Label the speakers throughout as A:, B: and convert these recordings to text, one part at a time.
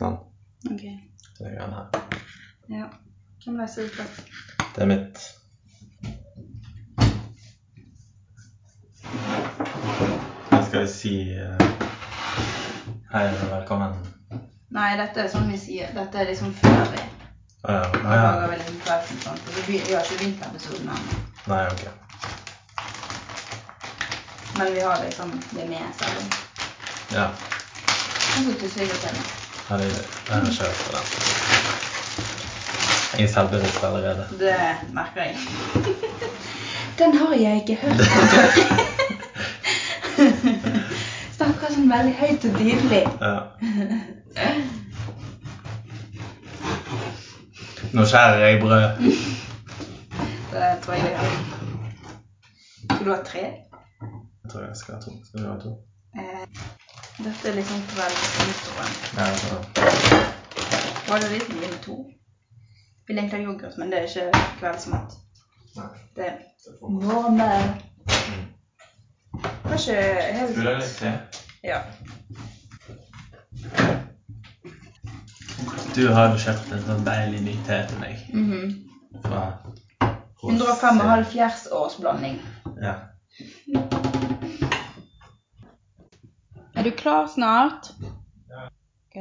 A: navn.
B: Ok.
A: Så jeg kan ha.
B: Ja. Hvem leser ut først?
A: Det er mitt. Hva skal jeg si? eh, Hei og velkommen.
B: Nei, dette er sånn vi sier. Dette er liksom før vi
A: Å ja, å Ah, ja.
B: lager vel en kveld og sånt. Og vi begyn- vi har ikke begynt med episoden ennå.
A: Nei, ok.
B: Men vi har liksom det med selv.
A: Ja,
B: Sånn som du sier til meg.
A: her er det. Jeg har kjørt på den. Jeg er selvbevisst allerede.
B: Det merker jeg. Den har jeg ikke hørt om før. Snakker sånn veldig høyt og tydelig.
A: Ja. Nå skjærer jeg brød.
B: Det tror jeg det er. Skal du ha tre?
A: Jeg tror jeg skal ha to. Skal du ha to?
B: Eh, dette er liksom kveldsintroen.
A: Ja, jeg tror det.
B: Var det litt mye med to? Vil egentlig ha yoghurt, men det er ikke kveldsmat.
A: Nei.
B: Det er
A: det får man.
B: morgenmel. Kanskje helt
A: Skulle jeg litt te?
B: Ja.
A: Du har jo kjøpt en sånn deilig ny te til meg.
B: Mhm.
A: Fra
B: 175 års blanding.
A: Ja.
B: Er du klar snart?
A: Ja.
B: Ok.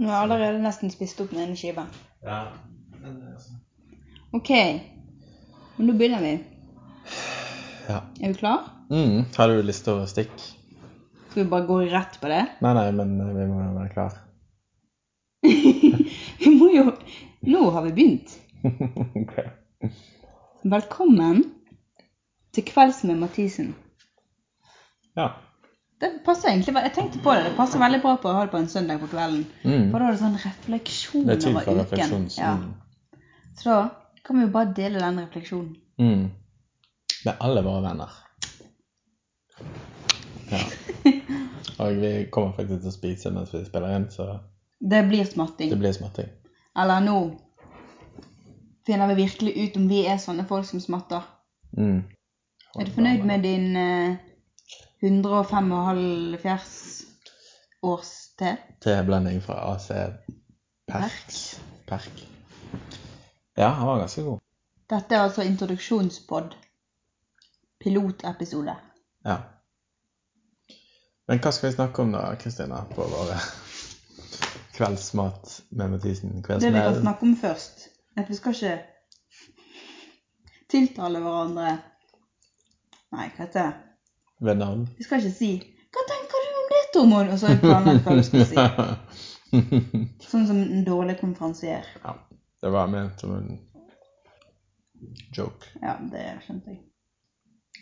B: Nå har jeg allerede nesten spist opp den ene skiva.
A: Ja. Men, altså.
B: Ok, men nå begynner vi.
A: Ja.
B: Er du klar?
A: Mm, har du lyst til å stikke?
B: Skal vi bare gå rett på det?
A: Nei, nei, men vi må jo være klar.
B: vi må jo... Nå har vi begynt.
A: ok.
B: Velkommen til kvelds med Mathisen.
A: Ja.
B: Det passer egentlig... ve- Jeg tenkte på det. Det passer veldig bra på å ha det på en søndag på kvelden.
A: Mm.
B: For da er det sånn refleksjon
A: Det er tid
B: over
A: for
B: uken.
A: refleksjon.
B: Ja. Så da kan vi jo bare dele den refleksjonen.
A: Mm. Med alle våre venner. Ja. Og vi kommer faktisk til å spise mens vi spiller inn, så
B: Det blir smatting.
A: det blir smatting.
B: Eller nå finner vi virkelig ut om vi er sånne folk som smatter.
A: Mm.
B: Er du fornøyd med din eh, 175 års te?
A: Teblanding fra AC Perk. Perk. Ja, han var ganske god.
B: Dette er altså introduksjonspod. Pilotepisode.
A: Ja. Men hva skal vi snakke om da, Kristina, på våre kveldsmat med Mathisen?
B: Det vi kan
A: Kveldsmel?
B: snakke om først, er at vi skal ikke tiltale hverandre Nei, hva heter det?
A: Ved navn?
B: Vi skal ikke si 'Hva tenker du om det, Tormod?' Og så planlegge hva du skal si. Sånn som en dårlig konferansier.
A: ja. Det var ment som en joke.
B: Ja, det skjønte jeg.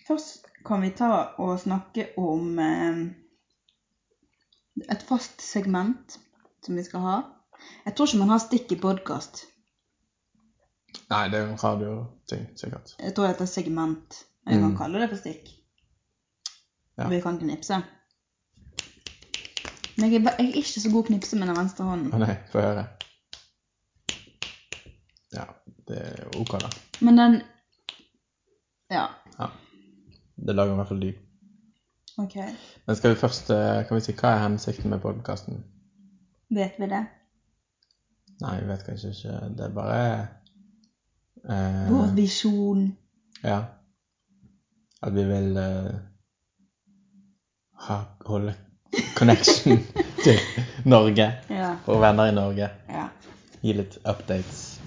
B: Først kan vi ta og snakke om eh, et fast segment som vi skal ha. Jeg tror ikke man har stikk i podkast.
A: Nei, det er jo en radioting, sikkert.
B: Jeg tror det heter segment. Men vi kan
A: Mm.
B: kalle det for stikk.
A: Ja.
B: Og vi kan knipse. Men jeg er, ba- jeg er ikke så god knipse med den venstre hånden.
A: Å nei, få høre. Ja, det er jo ok, da.
B: Men den Ja,
A: Det lager i hvert fall lyd.
B: OK.
A: Men skal vi først eh, kan vi si hva er hensikten med podkasten?
B: Vet vi det?
A: Nei, jeg vet kanskje ikke. Det er bare eh,
B: Vår visjon.
A: Ja. At vi vil eh, ha, holde connection til Norge.
B: Ja.
A: Våre venner i Norge.
B: ja.
A: Gi litt updates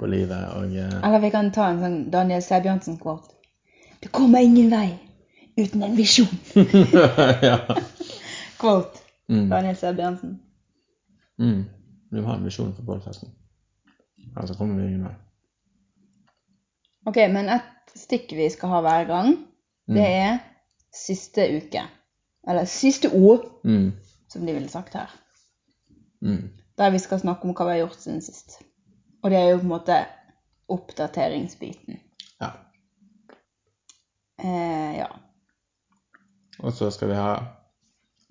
A: på livet og eh,
B: Eller vi kan ta en sånn Daniel Sæbjørnsen-kvart. Det kommer ingen vei uten en visjon.
A: ja.
B: Kvart.
A: Mm.
B: Daniel Sæbjørnsen.
A: Mm. Vi må ha en visjon for podkasten. Ellers så kommer vi ingen vei.
B: Ok, men et stikk vi skal ha hver gang,
A: Mm.
B: det er siste uke. Eller siste ord,
A: Mm.
B: som de ville sagt her.
A: Mm.
B: Der vi skal snakke om hva vi har gjort siden sist. Og det er jo på en måte oppdateringsbiten.
A: Ja.
B: Eh, ja.
A: Og så skal vi ha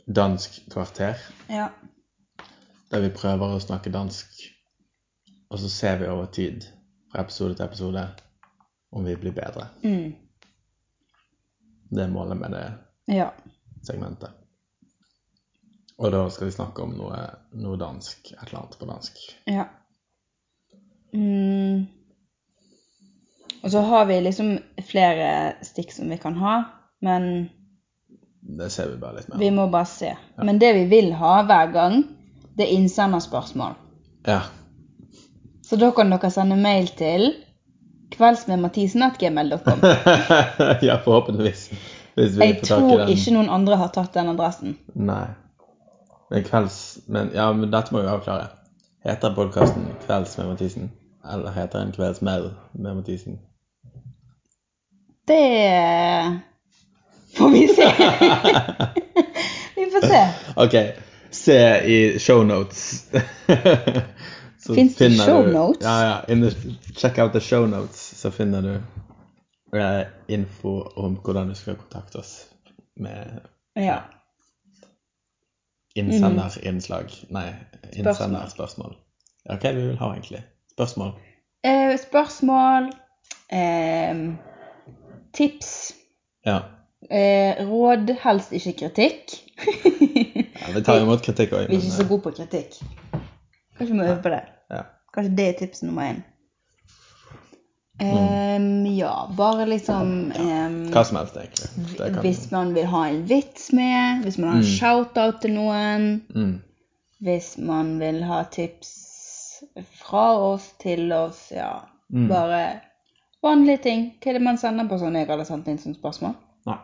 A: dansk kvarter,
B: ja.
A: der vi prøver å snakke dansk. Og så ser vi over tid, fra episode til episode, om vi blir bedre.
B: Mm.
A: Det er målet med det
B: Ja.
A: segmentet. Og da skal vi snakke om noe, noe dansk, et eller annet på dansk.
B: Ja. Mm. Og så har vi liksom flere stikk som vi kan ha, men
A: Det ser vi bare litt mer.
B: vi må bare se. Men det vi vil ha hver gang, det er innsenderspørsmål.
A: Ja.
B: Så da kan dere sende mail til kveldsmedmathisen.gmail.com.
A: ja, forhåpentligvis. Hvis vi
B: Jeg
A: får tak i
B: tror
A: den.
B: ikke noen andre har tatt den adressen.
A: Nei. Men kvelds... Men, ja, men dette må vi avklare. Heter podkasten 'Kvelds med Mathisen'? Eller heter den 'Kveldsmeld med Mathisen'?
B: Det får vi se. vi får se.
A: OK, se i shownotes.
B: Finns det shownotes?
A: Ja, ja. In the, check out the shownotes, så finner du eh, info om hvordan du skal kontakte oss med
B: Ja. Mhm.
A: innsenderinnslag. Nei, innsenderspørsmål. Ja, hva er det vi vil ha, egentlig? Spørsmål?
B: Eh, spørsmål, eh, tips,
A: Ja.
B: eh, råd, helst ikke kritikk. Vi
A: ja vi tar imot kritikk òg.
B: er ikke så gode på kritikk. Kanskje vi må øve på det.
A: Ja.
B: Kanskje det er tips nummer én. Em, ja, bare liksom em,
A: Mm. Hva Mm. som helst, egentlig. Det kan,
B: Hvis man vil ha en vits med, hvis man har en shout-out til noen.
A: mm.
B: Hvis man vil ha tips fra oss til oss, ja.
A: Mm.
B: Bare vanlige ting. Hva er det man sender på sånn jeg hadde sendt inn som spørsmål?
A: Nei.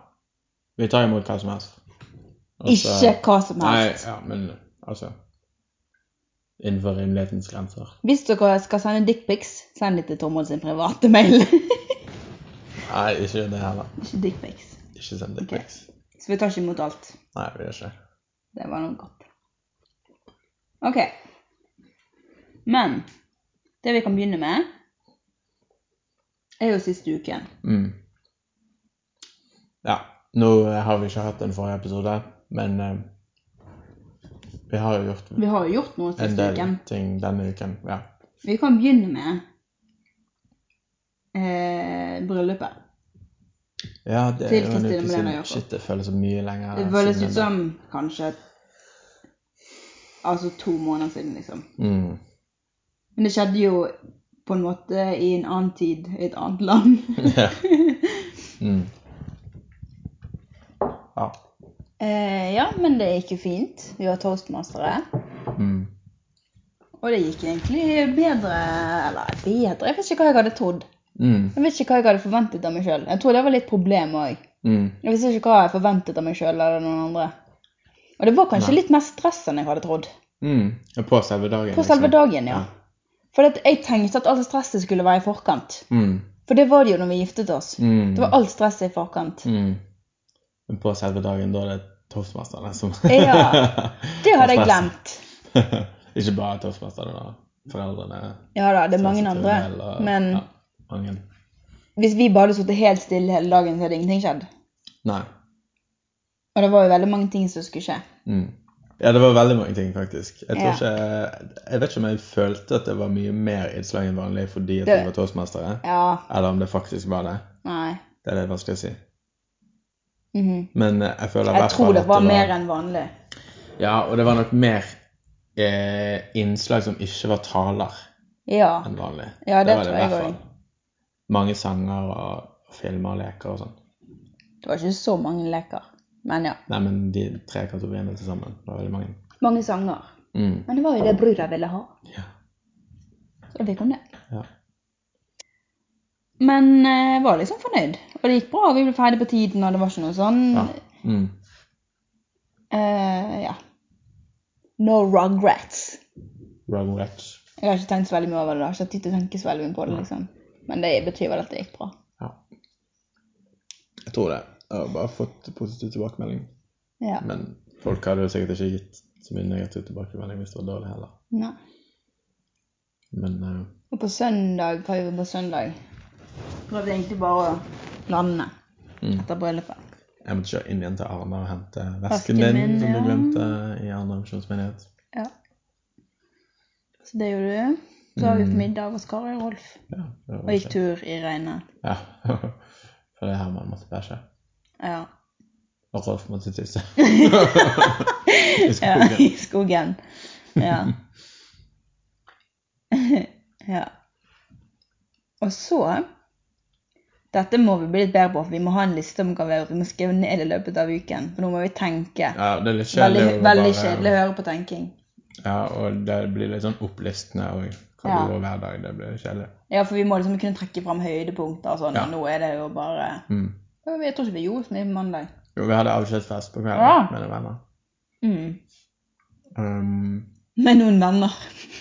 A: Vi tar imot hva som helst. Og så-
B: Ikke hva som
A: Altså- Nei,
B: helst.
A: ja, men altså Innenfor rimelighetens grenser.
B: Hvis dere skal sende dickpics, send det til Tormod sin private mail. ikke
A: Nei, ikke det heller.
B: dickpics.
A: Ikke send dickpics.
B: Så vi tar ikke imot alt.
A: Nei, vi gjør ikke det.
B: Det var noe godt. OK. Men det vi kan begynne med, er jo siste uken.
A: Mm. Ja. Nå eh, har vi ikke hatt en forrige episode, men eh, vi har jo gjort
B: Vi har jo gjort noe
A: en
B: siste
A: del
B: uken.
A: ting denne uken. Ja.
B: Vi kan begynne med eh, bryllupet.
A: ja det
B: Til
A: er jo en
B: Kristine
A: uke
B: Melena
A: siden.
B: Jakob.
A: Shit, det føles så mye lenger.
B: Det føles
A: siden
B: ut
A: enn
B: som kanskje Altså to måneder siden, liksom.
A: Mm.
B: Men det skjedde jo på en måte i en annen tid, i et annet land.
A: Ja. Mm. ja.
B: eh, ja, men det gikk jo fint. Vi var toastmastere.
A: Mm.
B: Og det gikk egentlig bedre Eller bedre Jeg vet ikke hva jeg hadde trodd.
A: Mm.
B: Jeg vet ikke hva jeg hadde forventet av meg sjøl. Jeg tror det var litt problem òg.
A: Mm.
B: Jeg visste ikke hva jeg forventet av meg sjøl eller noen andre. Og det var kanskje
A: Nei.
B: litt mer stress enn jeg hadde trodd.
A: Mm. Ja, På selve dagen. liksom.
B: På selve dagen, ja.
A: Ja.
B: For at jeg tenkte at alt stresset skulle være i forkant.
A: Mm.
B: For det var det jo når vi giftet oss.
A: Mm.
B: Det var alt stresset i forkant.
A: mm. Men på selve dagen, da er det toastmasterne som
B: Ja, Det hadde jeg glemt.
A: Ikke bare toastmasterne, da. Foreldrene.
B: Ja da, det er mange
A: sensitive
B: andre.
A: del og-
B: Men
A: ja, mange.
B: hvis vi bare hadde sittet helt stille hele dagen, så hadde ingenting skjedd.
A: Nei.
B: Og det var jo veldig mange ting som skulle skje.
A: Mm. Ja, det var veldig mange ting, faktisk. Jeg, tror
B: Ja.
A: ikke, jeg vet ikke om jeg følte at det var mye mer innslag enn vanlig fordi at
B: Det-
A: vi var toastmastere,
B: Ja,
A: eller om det faktisk var det.
B: nei.
A: Det er litt vanskelig å si.
B: Mhm.
A: Men eh, jeg føler i
B: Jeg
A: hvert
B: tror
A: fall
B: det
A: at
B: var mer enn vanlig.
A: Ja, og det var nok mer eh, innslag som ikke var taler
B: Ja.
A: enn vanlig.
B: Ja, det
A: var
B: tror
A: i
B: jeg
A: hvert fall.
B: også.
A: Mange sanger og filmer og leker og sånn.
B: Det var ikke så mange leker. Men ja.
A: Nei, men de tre kategoriene til sammen var veldig mange.
B: Mange sanger.
A: Mm.
B: Men det var jo det bruda ville ha.
A: Ja.
B: Så det fikk hun det.
A: ja.
B: Men eh, var liksom fornøyd. Og det gikk bra. Vi ble ferdig på tiden, og det var ikke noe sånn
A: ja. Mm.
B: eh, ja. No regrets.
A: Wrong Ratch.
B: Jeg har ikke tenkt så veldig mye over det. da. Jeg har ikke hatt tid til å tenke så veldig mye på det, liksom. Men det betyr vel at det gikk bra.
A: Ja. Jeg tror det. Jeg har bare fått positiv tilbakemelding.
B: Ja.
A: Men folk hadde jo sikkert ikke gitt så mye negativ tilbakemelding hvis det var dårlig heller.
B: Nei.
A: Men eh,
B: Og på søndag, hva gjorde vi på søndag? Prøvde egentlig bare å lande
A: Mm.
B: etter bryllupet.
A: jeg måtte kjøre inn igjen til Arna og hente
B: Vesken
A: vesken min,
B: min,
A: som
B: ja.
A: du glemte i Arna misjonsmenighet.
B: Ja. Så det gjorde du. Så var vi
A: Mm.
B: på middag hos Kari og Rolf.
A: Ja, det var
B: Og gikk
A: kjekt.
B: tur i regnet.
A: Ja. For det er her man måtte bæsje.
B: Ja.
A: Og Rolf måtte tisse. I
B: Ja,
A: skogen.
B: I skogen. Ja. ja. Og så Dette må vi bli litt bedre på, for vi må ha en liste om hva vi har gjort. Vi må skrive ned i løpet av uken, for nå må vi tenke.
A: Ja, det er litt kjedelig.
B: Veldig,
A: å
B: veldig
A: bare-
B: kjedelig å høre på tenking.
A: Ja, og det blir litt sånn opplistende og hva
B: Ja.
A: du gjør hver dag. Det blir kjedelig.
B: Ja, for vi må liksom kunne trekke fram høydepunkter og sånn.
A: Ja.
B: og Nå er det jo bare
A: Mm.
B: Ja, Jeg tror ikke vi gjorde så mye på mandag.
A: Jo, vi hadde avskjedsfest på kvelden
B: Ja.
A: med noen venner.
B: Mm.
A: Um,
B: Med noen venner.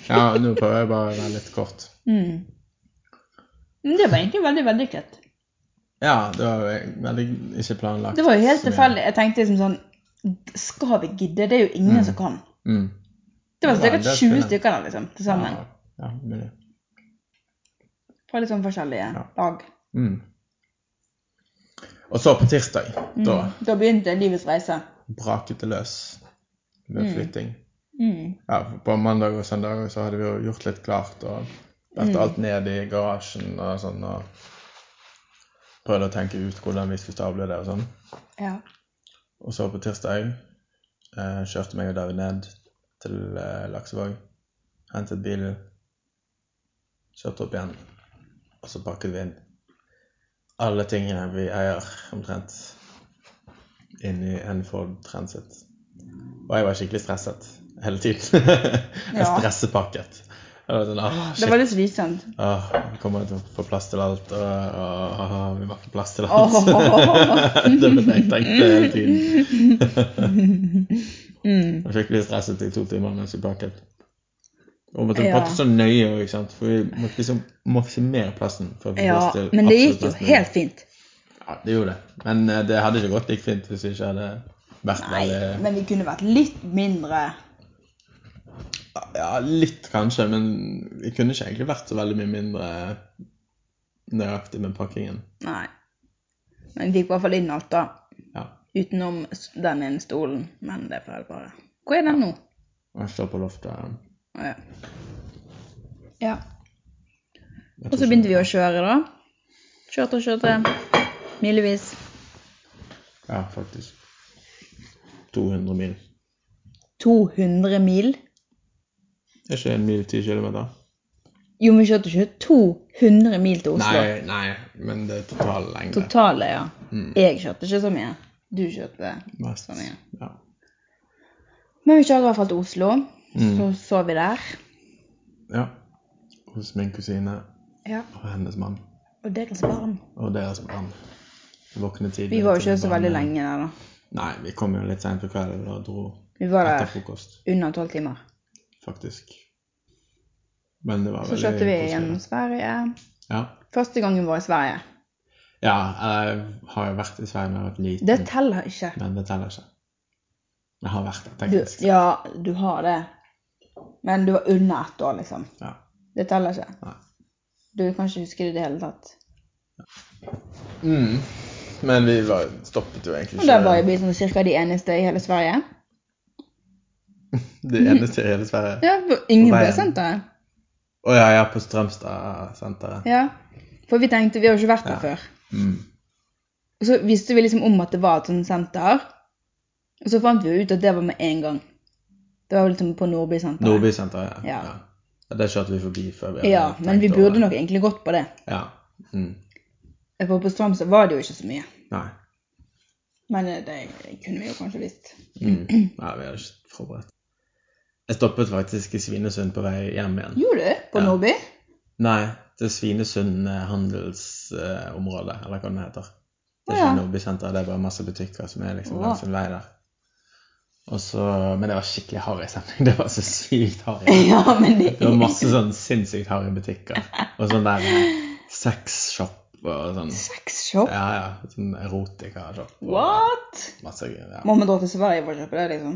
A: ja, nå prøver jeg bare å være litt kort.
B: Mm. Men det var egentlig veldig vellykket.
A: Ja, det var jo veldig ikke planlagt.
B: Det var jo helt
A: så mye.
B: tilfeldig. Jeg tenkte liksom sånn Skal vi gidde? Det er jo ingen
A: Mm.
B: som kan.
A: Mm.
B: Det var
A: Ja,
B: sikkert
A: det
B: 20
A: skulle-
B: stykker der, liksom, til sammen.
A: Ja, ja, mulig.
B: Fra litt sånn forskjellige
A: Ja.
B: lag.
A: Mm. Og så på tirsdag,
B: Mm.
A: da
B: Da begynte livets reise.
A: braket det løs med
B: Mm.
A: flytting.
B: Mm.
A: Ja, på mandag og søndag så hadde vi jo gjort litt klart og lagt
B: Mm.
A: alt ned i garasjen og sånn og prøvd å tenke ut hvordan vi skulle stable det og sånn.
B: Ja.
A: Og så på tirsdag eh, kjørte meg og David ned til eh, Laksevåg. Hentet bilen, kjørte opp igjen, og så pakket vi inn alle tingene vi eier omtrent inn i en Ford Transit. Og jeg var skikkelig stresset hele tiden. jeg
B: Ja.
A: stressepakket. Jeg var sånn, ah,
B: Det
A: shit,
B: var litt slitsomt.
A: ah, kommer jeg til å få plass til alt? Og, og, ah, vi må få plass til alt.
B: Åh.
A: det var det jeg tenkte hele tiden.
B: Mm.
A: Jeg var skikkelig stresset i to timer mens vi pakket. Og måtte
B: Ja.
A: pakke så nøye, også, ikke sant? for vi måtte liksom maksimere plassen. For å få
B: Ja,
A: plass til
B: men det
A: absolutt
B: gikk jo
A: mest mulig.
B: helt fint.
A: Ja, det gjorde det. Men eh, det hadde ikke gått like fint hvis vi ikke hadde vært
B: Nei,
A: veldig
B: men vi kunne vært litt mindre
A: Ja, litt kanskje, men vi kunne ikke egentlig vært så veldig mye mindre nøyaktig med pakkingen.
B: Nei. Men vi fikk i hvert fall inn alt, da.
A: Ja.
B: Utenom s- den ene stolen. Men det får jeg bare Hvor er den nå?
A: Og jeg står på loftet.
B: Å, ja. ja.
A: Jeg
B: Og
A: tror
B: så begynte
A: ikke-
B: vi å kjøre, da. Kjørte og kjørte. Milevis.
A: Ja, faktisk. 200 mil.
B: 200 mil.
A: Er ikke en mil 10 kilometer?
B: Jo, men vi kjørte ikke 200 mil til Oslo.
A: Nei, nei, men det er total lengde.
B: Totale, ja.
A: Mm.
B: Jeg kjørte ikke så mye. Du kjørte.
A: Mest.
B: Sånn, ja.
A: Ja.
B: Men vi kjørte i hvert fall til Oslo.
A: Mm.
B: Så sov vi der.
A: ja. Hos min kusine
B: Ja.
A: og hennes mann
B: Og deres barn.
A: og deres barn. Våkne tidlig.
B: Vi var jo
A: til
B: ikke så veldig
A: barnet.
B: lenge der, da.
A: Nei, vi kom jo litt seint på kvelden og dro
B: Vi var
A: etter
B: der
A: frokost,
B: under tolv timer.
A: faktisk. Men det var
B: Så
A: veldig
B: kjørte vi
A: koselig.
B: gjennom Sverige.
A: Ja.
B: Første gangen vår i Sverige.
A: ja, jeg har jo vært i Sverige da jeg var liten,
B: Det teller ikke.
A: men det teller ikke. Jeg har vært der,
B: Du,
A: teknisk.
B: ja, du har det. Men du var under ett år, liksom.
A: Ja.
B: Det teller ikke.
A: Nei.
B: Du kan ikke huske det i det hele tatt.
A: Mm. Men vi var, stoppet jo egentlig
B: Og der var vi sånn cirka de eneste i hele Sverige.
A: Det eneste i hele Sverige.
B: Ja, for Ingen
A: På veien.
B: ble sendt der.
A: Å ja, ja, på Strømstad-senteret.
B: Ja. For vi tenkte, vi har jo ikke vært der
A: Ja.
B: før.
A: Mm.
B: Og så visste vi liksom om at det var et sånt senter. Og så fant vi jo ut at det var med en gang. Det var liksom på Nordbysenteret.
A: Nordbysenteret, ja.
B: Ja.
A: ja. ja. Det kjørte vi forbi før vi hadde
B: Ja,
A: tenkt
B: men vi
A: over
B: burde
A: det.
B: nok egentlig gått på det.
A: Ja. Mm.
B: For på Strømsø var det jo ikke så mye.
A: Nei.
B: Men eh, det kunne vi jo kanskje visst.
A: Mm. Nei, vi hadde ikke forberedt. Jeg stoppet faktisk i Svinesund på vei hjem igjen.
B: Gjorde du? På
A: Ja.
B: Nordby?
A: Nei, til Svinesund eh, handelsområde, eller hva det heter. Det
B: Å,
A: er
B: ja.
A: ikke Nordbysenteret, det er bare masse butikker som er liksom
B: Å.
A: langs en vei der. Og så, men det var skikkelig harry stemning. Det var så sykt harry.
B: Ja, men det
A: Det var masse sånn sinnssykt harry butikker. Og sånn der eh, sexshop og sånn.
B: Sexshop?
A: Ja, ja. Sånn erotikashop. og
B: What?
A: Masse greier. Ja.
B: Må vi dra til Sverige for å kjøpe det, liksom?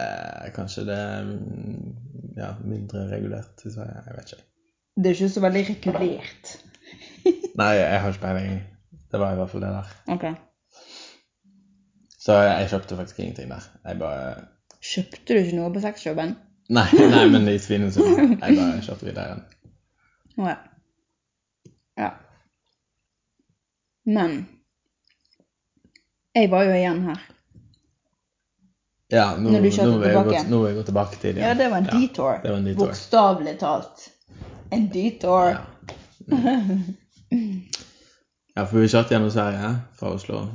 A: Eh, kanskje det er mm, ja, mindre regulert i Sverige. Jeg vet ikke.
B: Det er ikke så veldig regulert.
A: Nei, jeg har ikke peiling. Det var i hvert fall det der.
B: Ok.
A: Så jeg, jeg kjøpte faktisk ingenting der. Jeg bare
B: Kjøpte du ikke noe på sexshopen?
A: Nei, nei men i Svinesund. Jeg bare kjørte videre igjen.
B: Å ja. Ja. Men Jeg var jo igjen her.
A: Ja, nå,
B: Når
A: nå,
B: du kjørte
A: vil jeg
B: tilbake
A: gå-
B: igjen.
A: nå vil jeg gå tilbake til det.
B: Ja, det var en detour.
A: det var en detour.
B: Bokstavelig talt. En detour.
A: Ja. Mm. ja, for vi kjørte gjennom Sverige fra Oslo.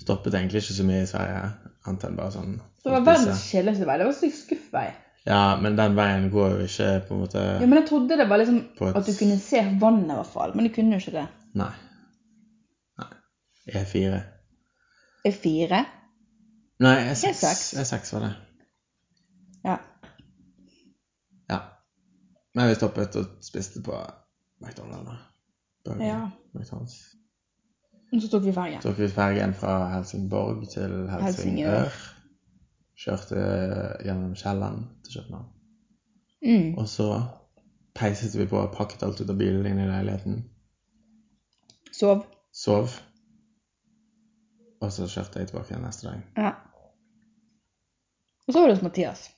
A: Stoppet egentlig ikke så mye i Sverige, annet enn bare sånn
C: Det var
A: å spise.
C: verdens kjedeligste vei. Det var sykt skuffvei.
A: Ja, men den veien går jo ikke på en måte
C: Ja, men jeg trodde det var liksom
A: På et-
C: at du kunne se vannet i hvert fall, men du kunne jo ikke det.
A: Nei. Nei. E E4.
C: E E4?
A: Nei, E
B: E
A: E6.
C: E6.
A: E6 var det.
C: Ja.
A: Ja. Men vi stoppet og spiste på McDonald's. da. Burger,
C: Ja.
A: McDonald's.
C: Og så tok vi fergen.
A: Tok ut fergen fra Helsingborg til Helsingør.
C: Helsingør.
A: Kjørte gjennom Kielland til København.
C: Mm.
A: Og så peiset vi på og pakket alt ut av bilen inn i leiligheten.
C: Sov.
A: Sov. Og så kjørte jeg tilbake igjen neste dag.
C: Ja. Og så var det hos Mathias.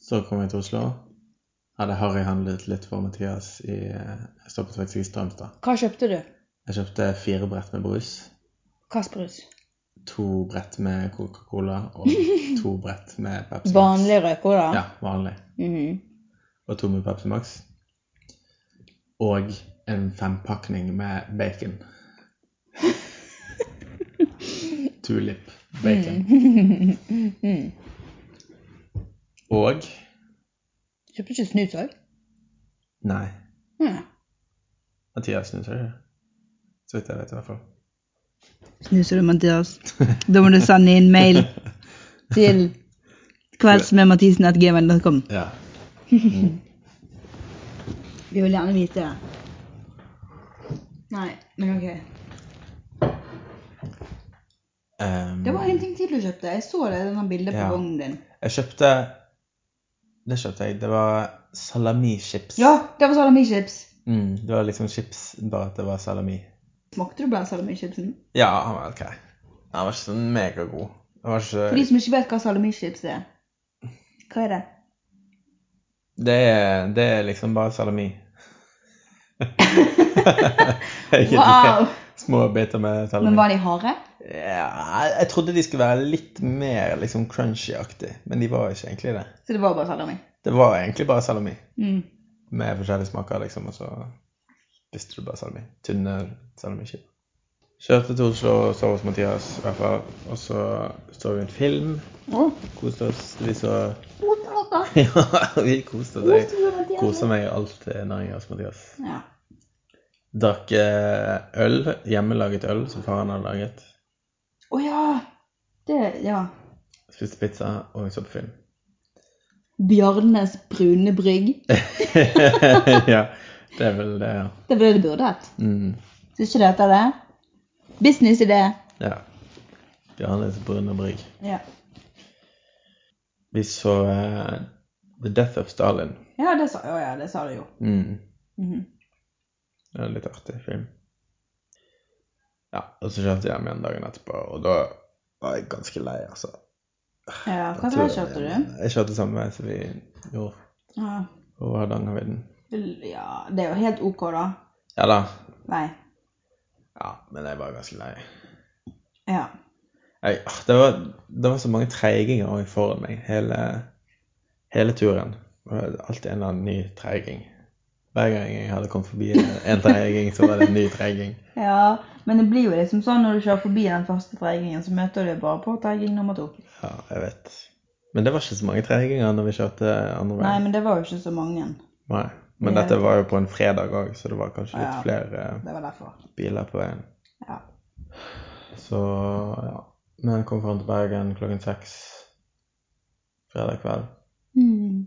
A: Så kom jeg til Oslo. Hadde Harry handlet litt for Mathias i Jeg stoppet faktisk i Strømstad.
C: Hva kjøpte du?
A: Jeg kjøpte fire brett med brus,
C: Kasperus.
A: to brett med Coca-Cola og to brett med Pepsi Max.
C: Vanlig rødkola?
A: Ja, vanlig.
C: Mhm.
A: og to med Pepsi Max. Og en fempakning med bacon. Tulip bacon. Og
C: Kjøpte ikke snus òg?
A: Nei,
C: Mm.
A: Mathias snuser ikke. Så vidt jeg vet, i hvert fall.
B: Snuser du, Mathias? Da må du sende inn mail til kveldsmedmathisen.gmil.com.
A: Ja.
B: Vi vil gjerne vite det. Nei, men OK.
A: Ehm,
B: Det var en ting til du kjøpte. Jeg så det denne bildet på
A: Ja.
B: vognen din.
A: Jeg kjøpte Det kjøpte jeg. Det var salamichips.
B: Ja, det var salamichips.
A: Mm, det var liksom chips, bare at det var salami.
B: Smakte du på den salamichipsen?
A: Ja, han var ok. Han var ikke sånn megagod. Han var ikke
B: For de som ikke vet hva salamichips er. Hva er det?
A: Det er, det er liksom bare salami. Egentlig
B: Wow!
A: Små biter med salami.
B: Men var de harde?
A: ja, jeg trodde de skulle være litt mer liksom crunchy-aktig, men de var ikke egentlig det.
B: Så det var bare salami?
A: Det var egentlig bare salami
B: Mm.
A: med forskjellige smaker, liksom, og så spiste du bare salami. Tynne salamiskiver. Kjørte til Oslo og sov hos Mathias, i hvert fall. Og så så vi en film. Koste oss. Vi så Ja, vi koste oss. Jeg koser meg alltid når jeg er hos Mathias.
B: Ja.
A: Drakk eh, øl, hjemmelaget øl som faren hadde laget.
B: Å ja! Det Ja.
A: Spiste pizza og så på film.
B: Bjarnes brune brygg.
A: ja, det er vel det, ja.
B: Det var det det burde hett.
A: Mm,
B: Syns ikke du det heter det? Businessidé.
A: ja. Bjarnes brune brygg.
B: Ja.
A: Vi så eh, The Death of Stalin.
B: ja, det sa, å ja, det sa du jo.
A: Mm,
B: Mhm.
A: det er en litt artig film. Ja, og så kjørte jeg hjem igjen dagen etterpå, og da var jeg ganske lei, altså.
B: Ja, hva
A: Turen
B: slags kjørte du?
A: hjem. Jeg kjørte samme vei som vi gjorde
B: Ja.
A: på Hardangervidda.
B: ja, det er jo helt OK, da.
A: Ja da.
B: Nei.
A: Ja, men jeg var ganske lei.
B: Ja.
A: Jeg, ah, det, var, det var så mange treiginger også foran meg hele, hele turen. Det var alltid en eller annen ny treiging. Hver gang jeg hadde kommet forbi en treiging, så var det en ny treiging.
B: ja. Men det blir jo liksom sånn når du kjører forbi den første treigingen, så møter du bare på treiging nummer to.
A: Ja, jeg vet. Men det var ikke så mange treiginger når vi kjørte andre
B: Nei,
A: veien.
B: men det var jo ikke så mange.
A: Nei, men
B: Nei.
A: dette var jo på en fredag òg, så det var kanskje litt
B: Ja.
A: flere eh,
B: Det var derfor.
A: biler på veien.
B: Ja.
A: Så ja. Men kom fram til Bergen klokken seks fredag kveld.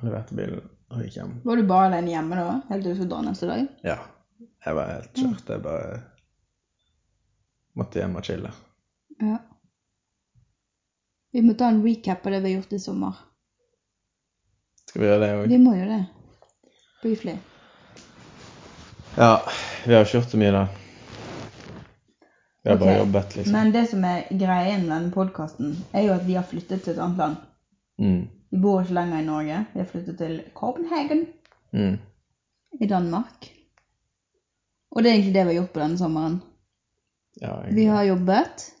A: Leverte bilen og gikk hjem.
B: Mm. Var du bare alene hjemme da? Helt til du skulle dra neste dag?
A: Ja. Jeg var helt
B: Mm.
A: kjørt. Jeg bare måtte hjem og chille.
B: Ja. Vi må ta en recap av det vi har gjort i sommer.
A: Skal vi gjøre det òg?
B: Vi må jo det. Briefly.
A: Ja. Vi har ikke gjort så mye, da. Vi har bare
B: Ok,
A: jobbet, liksom.
B: Men det som er greien med denne podkasten, er jo at vi har flyttet til et annet land.
A: Mm.
B: Vi bor ikke lenger i Norge. Vi har flyttet til Copenhagen
A: Mm.
B: i Danmark. Og det er egentlig det vi har gjort på denne sommeren.
A: Ja,
B: Vi
A: egentlig.
B: har jobbet,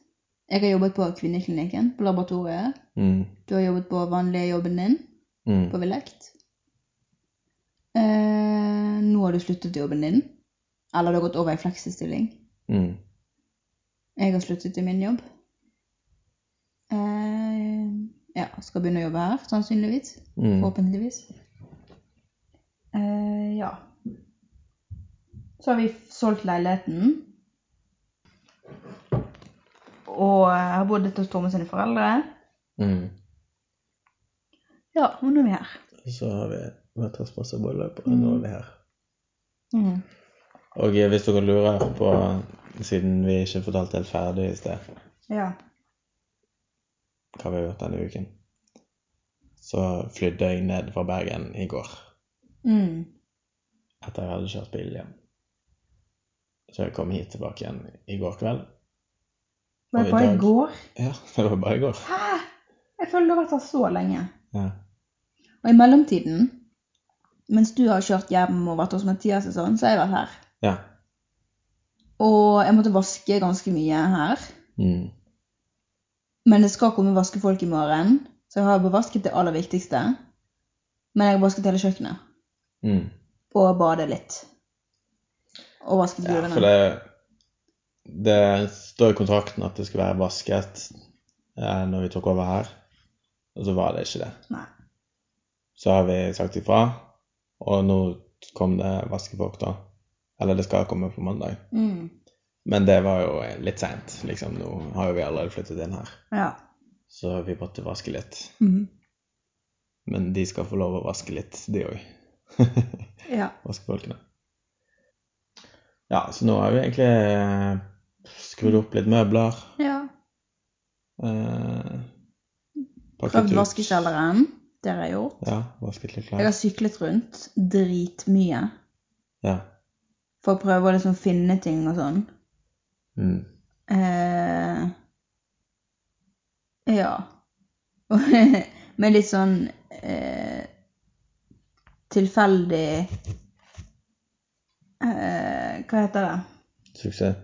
B: Jeg har jobbet på kvinneklinikken, på laboratoriet.
A: Mm.
B: Du har jobbet på vanlige jobben din,
A: Mm.
B: på Vilekt. Eh, nå har du sluttet jobben din. Eller du har gått over i fleksestilling.
A: Mm.
B: Jeg har sluttet i min jobb. Eh, ja, skal begynne å jobbe her, sannsynligvis.
A: Mm.
B: Forhåpentligvis. Eh, ja. Så har vi f- solgt leiligheten. Og eh, har bodd litt hos Tore med sine foreldre.
A: Mm.
B: Ja, og nå er vi her.
A: Så har vi vært hos masse boller på, og nå er vi her.
B: Mm.
A: Og eh, hvis dere lurer på, siden vi ikke fortalte helt ferdig i sted,
B: Ja.
A: hva vi har gjort denne uken, så flydde jeg ned fra Bergen i går,
B: Mm.
A: etter jeg hadde kjørt bil igjen. Så jeg kom hit tilbake igjen i går kveld.
B: Var
A: Og i
B: det bare
A: dag-
B: i går?
A: Ja, det var bare i går.
B: Hæ? Jeg føler det har vært her så lenge.
A: Ja.
B: Og i mellomtiden, mens du har kjørt hjem og vært hos Mathias og sånn, så har jeg vært her.
A: ja.
B: Og jeg måtte vaske ganske mye her.
A: Mm.
B: Men det skal komme vaskefolk i morgen, så jeg har bevasket det aller viktigste. Men jeg har vasket hele kjøkkenet.
A: Mm.
B: Og badet litt. Og vasket
A: Ja,
B: gulvene.
A: for det, det står i kontrakten at det skulle være vasket eh, når vi tok over her, og så var det ikke det.
B: Nei.
A: Så har vi sagt ifra, og nå kom det vaskefolk, da. Eller det skal komme på mandag.
B: Mm.
A: Men det var jo eh, litt seint, liksom. Nå har jo vi allerede flyttet inn her,
B: Ja.
A: så vi måtte vaske litt.
B: Mhm.
A: Men de skal få lov å vaske litt, de òg.
B: ja.
A: vaskefolkene. Ja, så nå har vi egentlig eh, skrudd opp litt møbler.
B: Ja.
A: Eh, pakket
B: Prøvd
A: ut.
B: vaskekjelleren. Det har jeg gjort.
A: Ja, vasket litt
B: Jeg
A: klær.
B: har syklet rundt dritmye
A: Ja.
B: for å prøve å liksom finne ting og sånn.
A: Mm.
B: Eh, ja. Og Med litt sånn eh, tilfeldig eh, Hva heter det?
A: Suksess.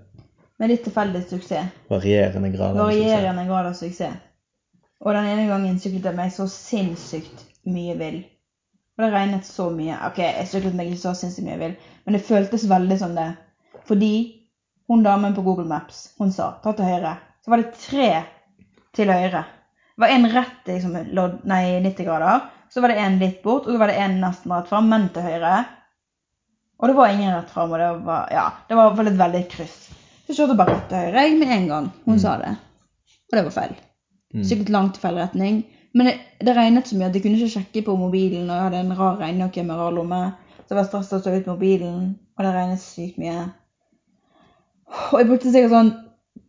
B: Med litt tilfeldig suksess.
A: Varierende grad av suksess.
B: Varierende grad av suksess. Og den ene gangen syklet jeg meg så sinnssykt mye vill. Og det regnet så mye. Ok, jeg syklet meg ikke så sinnssykt mye vill, men det føltes veldig som det. Fordi hun damen på Google Maps, hun sa ta til høyre. Så var det tre til høyre. Det var en rett i som lodd, nei, 90 grader, så var det en litt bort, og så var det en nesten rett fram, men til høyre. Og det var ingen rett fram, og det var, ja, det var i hvert fall et veldig kryss. Så jeg kjørte bare rett til høyre jeg, med en gang. Hun
A: Mm.
B: sa det. Og det var feil.
A: Mm.
B: Sikkert langt i feil retning. Men det, det regnet så mye at jeg kunne ikke sjekke på mobilen, og jeg hadde en rar regnejakke med rar lomme. Så jeg var stressa og så ut mobilen, og det regnet sykt mye. Og jeg brukte sikkert sånn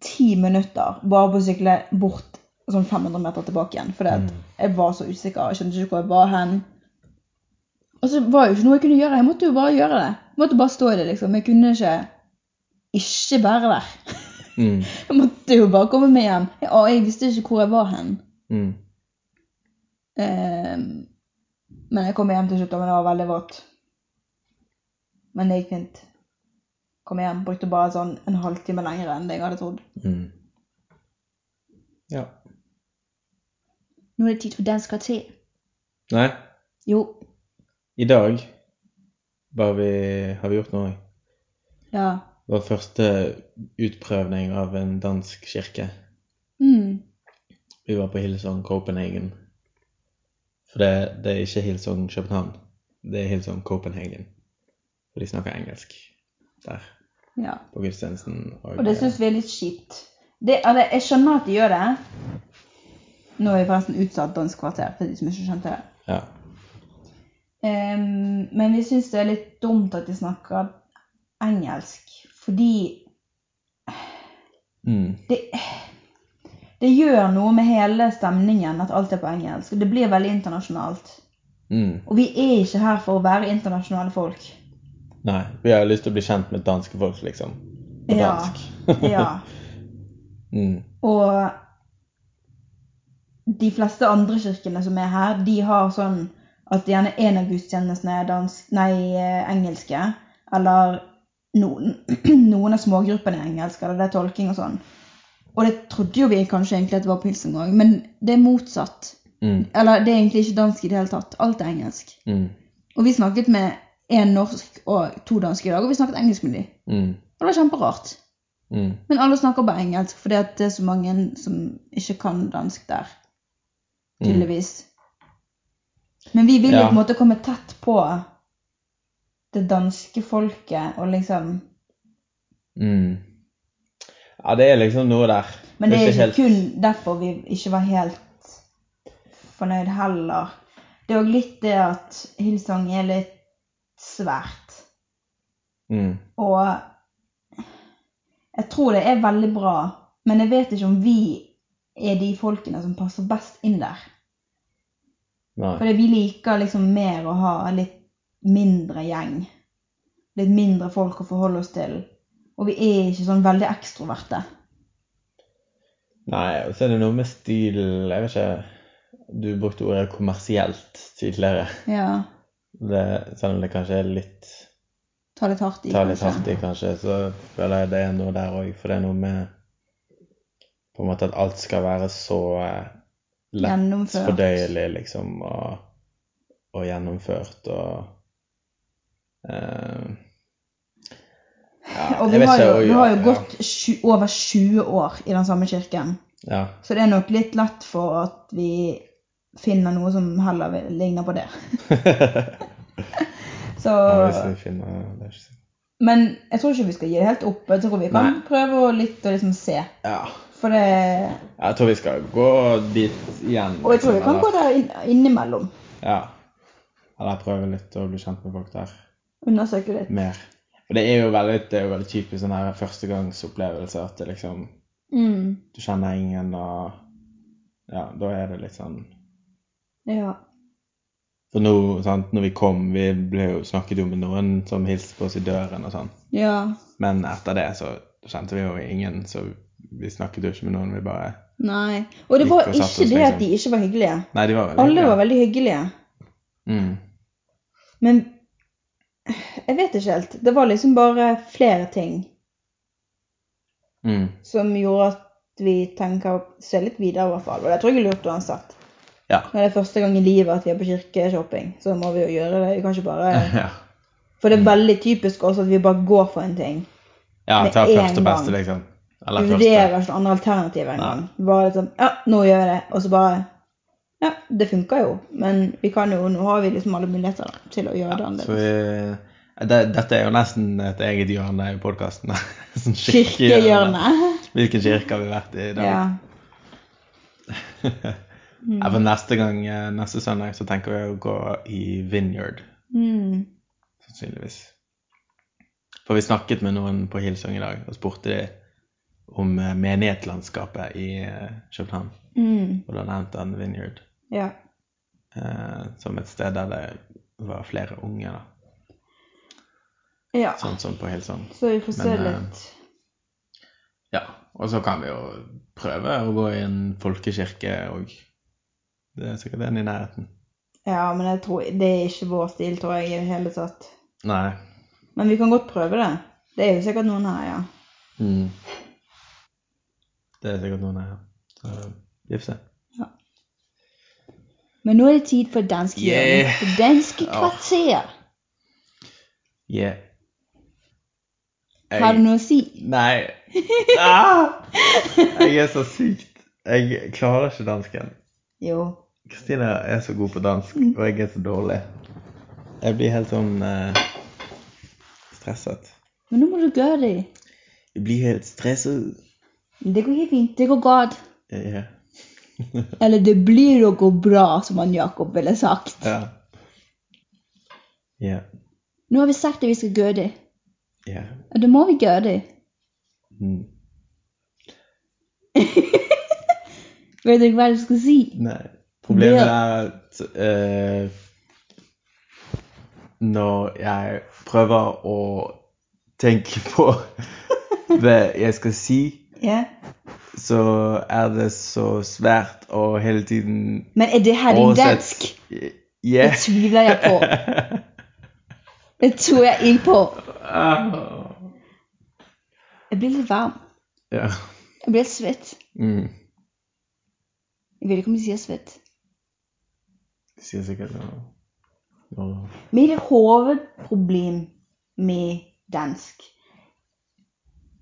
B: ti minutter bare på å sykle bort sånn 500 meter tilbake igjen. Fordi at
A: Mm.
B: jeg var så usikker, jeg skjønte ikke hvor jeg var hen. Og så var jo ikke noe jeg kunne gjøre, jeg måtte jo bare gjøre det. Jeg måtte bare stå i det, liksom. Jeg kunne ikke ikke være der.
A: Mm.
B: Jeg måtte jo bare komme meg hjem. Jeg, og jeg visste ikke hvor jeg var hen.
A: Mm.
B: Eh, men jeg kom hjem til slutt, og det var veldig vått. Men det gikk fint. Kom hjem, brukte bare sånn en halvtime lenger enn det jeg hadde trodd.
A: Mm. Ja.
B: Nå er det tid for dansk kvarter.
A: Nei,
B: Jo.
A: i dag var vi, har vi gjort noe.
B: Ja.
A: Vår første utprøvning av en dansk kirke.
B: Mm.
A: Vi var på Hillsong Copenhagen. For det, det er ikke Hillsong København. Det er Hillsong Copenhagen. For de snakker engelsk der
B: ja.
A: på gudstjenesten.
B: Og det syns vi er litt kjipt. Det, eller, jeg skjønner at de gjør det. Nå er vi forresten utsatt dansk kvarter, for de som ikke skjønte det.
A: Ja.
B: Ehm, men vi syns det er litt dumt at de snakker engelsk. Fordi
A: Mm.
B: det, det gjør noe med hele stemningen at alt er på engelsk. og Det blir veldig internasjonalt.
A: Mm.
B: Og vi er ikke her for å være internasjonale folk.
A: Nei, vi har lyst til å bli kjent med danske folk, liksom. På
B: Ja.
A: dansk.
B: Ja.
A: Mm.
B: Og de fleste andre kirkene som er her, de har sånn at gjerne en av gudstjenestene er dansk, nei, eh, engelske. Eller noen, noen av smågruppene er engelske, eller det er tolking og sånn. Og det trodde jo vi kanskje egentlig at det var pilsen òg, men det er motsatt.
A: Mm.
B: Eller det er egentlig ikke dansk i det hele tatt. Alt er engelsk.
A: Mm.
B: Og vi snakket med én norsk og to danske i dag, og vi snakket engelsk med dem.
A: Mm.
B: Og det var kjemperart.
A: Mm.
B: Men alle snakker bare engelsk, fordi at det er så mange som ikke kan dansk der.
A: Mm.
B: Tydeligvis. Men vi vil jo
A: Ja.
B: på en måte komme tett på det danske folket og liksom
A: Mm. Ja, det er liksom noe der.
B: Men det er ikke
A: helt-
B: kun derfor vi ikke var helt fornøyd heller. Det er òg litt det at Hillsong er litt svært.
A: mm.
B: Og jeg tror det er veldig bra, men jeg vet ikke om vi er de folkene som passer best inn der.
A: Nei.
B: Fordi vi liker liksom mer å ha litt mindre gjeng. Litt mindre folk å forholde oss til. Og vi er ikke sånn veldig ekstroverte.
A: Nei, og så er det noe med stil Jeg vet ikke Du brukte ordet kommersielt tidligere.
B: Ja,
A: Det, selv om det kanskje er litt
B: Ta litt hardt i,
A: tar litt hardt i, kanskje, så føler jeg det er noe der òg. For det er noe med på en måte at alt skal være så eh, lett
B: Gjennomført.
A: fordøyelig, liksom, og, og gjennomført og eh, ja,
B: Og
A: jeg
B: vi
A: vet
B: har
A: ikke,
B: jo,
A: og-
B: vi har jo
A: ja,
B: gått sju- over 20 år i den samme kirken.
A: Ja.
B: Så det er nok litt lett for at vi finner noe som heller vil- ligner på det. Så,
A: ja hvis vi finner det er ikke så-
B: men jeg tror ikke vi skal gi det helt opp. Jeg tror vi kan
A: Nei.
B: prøve å litt å liksom se.
A: Ja.
B: For det,
A: Jeg tror vi skal gå dit igjen.
B: og jeg tror vi kan gå
A: eller,
B: der inn, innimellom.
A: ja. eller prøve litt å bli kjent med folk der
B: Undersøke litt.
A: mer. For det er jo veldig, det er jo veldig typisk sånn her førstegangsopplevelse at det liksom
B: Mm,
A: Du kjenner ingen, og ja, da er det litt sånn
B: ja.
A: For nå, sant, når vi kom, vi ble jo snakket jo med noen som hilste på oss i døren og sånn.
B: ja.
A: Men etter det så kjente vi jo ingen, så vi snakket jo ikke med noen. Vi bare
B: Nei. Og det
A: Gikk
B: var
A: og satte
B: ikke
A: oss,
B: det at
A: liksom.
B: de ikke var hyggelige.
A: Nei, de var veldig
B: Alle var
A: hyggelige.
B: veldig hyggelige.
A: Mm.
B: Men jeg vet ikke helt. Det var liksom bare flere ting
A: Mm.
B: som gjorde at vi tenker å se litt videre, i hvert fall. Og det tror jeg er lurt uansett.
A: Ja.
B: Når det er første gang i livet at vi er på kirkeshopping, så må vi jo gjøre det. Vi kan ikke bare
A: ja.
B: For det er veldig typisk også at vi bare går for en ting.
A: ja
B: Med
A: ta
B: en
A: første beste,
B: gang.
A: liksom.
B: Vi
A: Eller første.
B: vurderer ikke noen andre alternativer engang. Bare litt sånn Ja, nå gjør vi det. Og så bare Ja, det funker jo, men vi kan jo Nå har vi liksom alle muligheter da, til å gjøre det
A: Ja, så
B: annerledes.
A: vi, det, dette er jo nesten et eget hjørne i podkasten. sånn kirkehjørne.
B: Kirkehjørnet.
A: Hvilken kirke har vi vært i i dag?
B: Ja.
A: Ja,
B: Mm.
A: for neste gang, eh, neste søndag, så tenker vi å gå i Vineyard.
B: Mm.
A: sannsynligvis. For vi snakket med noen på Hillsong i dag og spurte de om eh, menighetslandskapet i eh, København.
B: Mm.
A: Og da nevnte han Vineyard
B: Ja.
A: eh, som et sted der det var flere unge, da.
B: ja.
A: sånn som på Hillsong.
B: Så vi får se
A: Men, eh,
B: litt.
A: Ja, og så kan vi jo prøve å gå i en folkekirke òg. Det er sikkert en i nærheten.
B: Ja, men jeg tror, det er ikke vår stil, tror jeg, i det hele tatt.
A: Nei.
B: Men vi kan godt prøve det. Det er jo sikkert noen her, ja.
A: Mm. Det er sikkert noen her. Så vi får se.
B: Men nå er det tid for dansk
A: Yeah.
B: hjørne. For Danske
A: Ja.
B: kvarter.
A: Yeah.
B: Har du noe å si?
A: Nei. Ah! Jeg er så sykt Jeg klarer ikke dansken.
B: Jo.
A: Kristina er så god på dansk, og jeg er så dårlig. Jeg blir helt sånn eh, stresset.
B: Men nå må du gjøre det.
A: Jeg blir helt stresset.
B: Det går helt fint. Det går godt.
A: Ja.
B: Eller det blir å gå bra, som han Jakob ville sagt.
A: Ja. Ja.
B: Nå har vi sagt at vi skal gjøre det.
A: Ja.
B: Og da må vi gjøre det.
A: Mm.
B: Vet du ikke hva du skal si?
A: Nei. Problemet
B: Det-
A: er at eh, når jeg prøver å tenke på hva jeg skal si
B: Ja.
A: så er det så svært å hele tiden
B: Men er det her din
A: oversette-
B: dansk?
A: Ja.
B: Det tviler jeg på. Det tror jeg ikke på.
A: Ah.
B: Jeg blir litt varm.
A: Ja.
B: Jeg blir helt svett.
A: Mm.
B: Jeg vet ikke om de sier svett.
A: De sier sikkert noe. noe-
B: Mitt hovedproblem med dansk,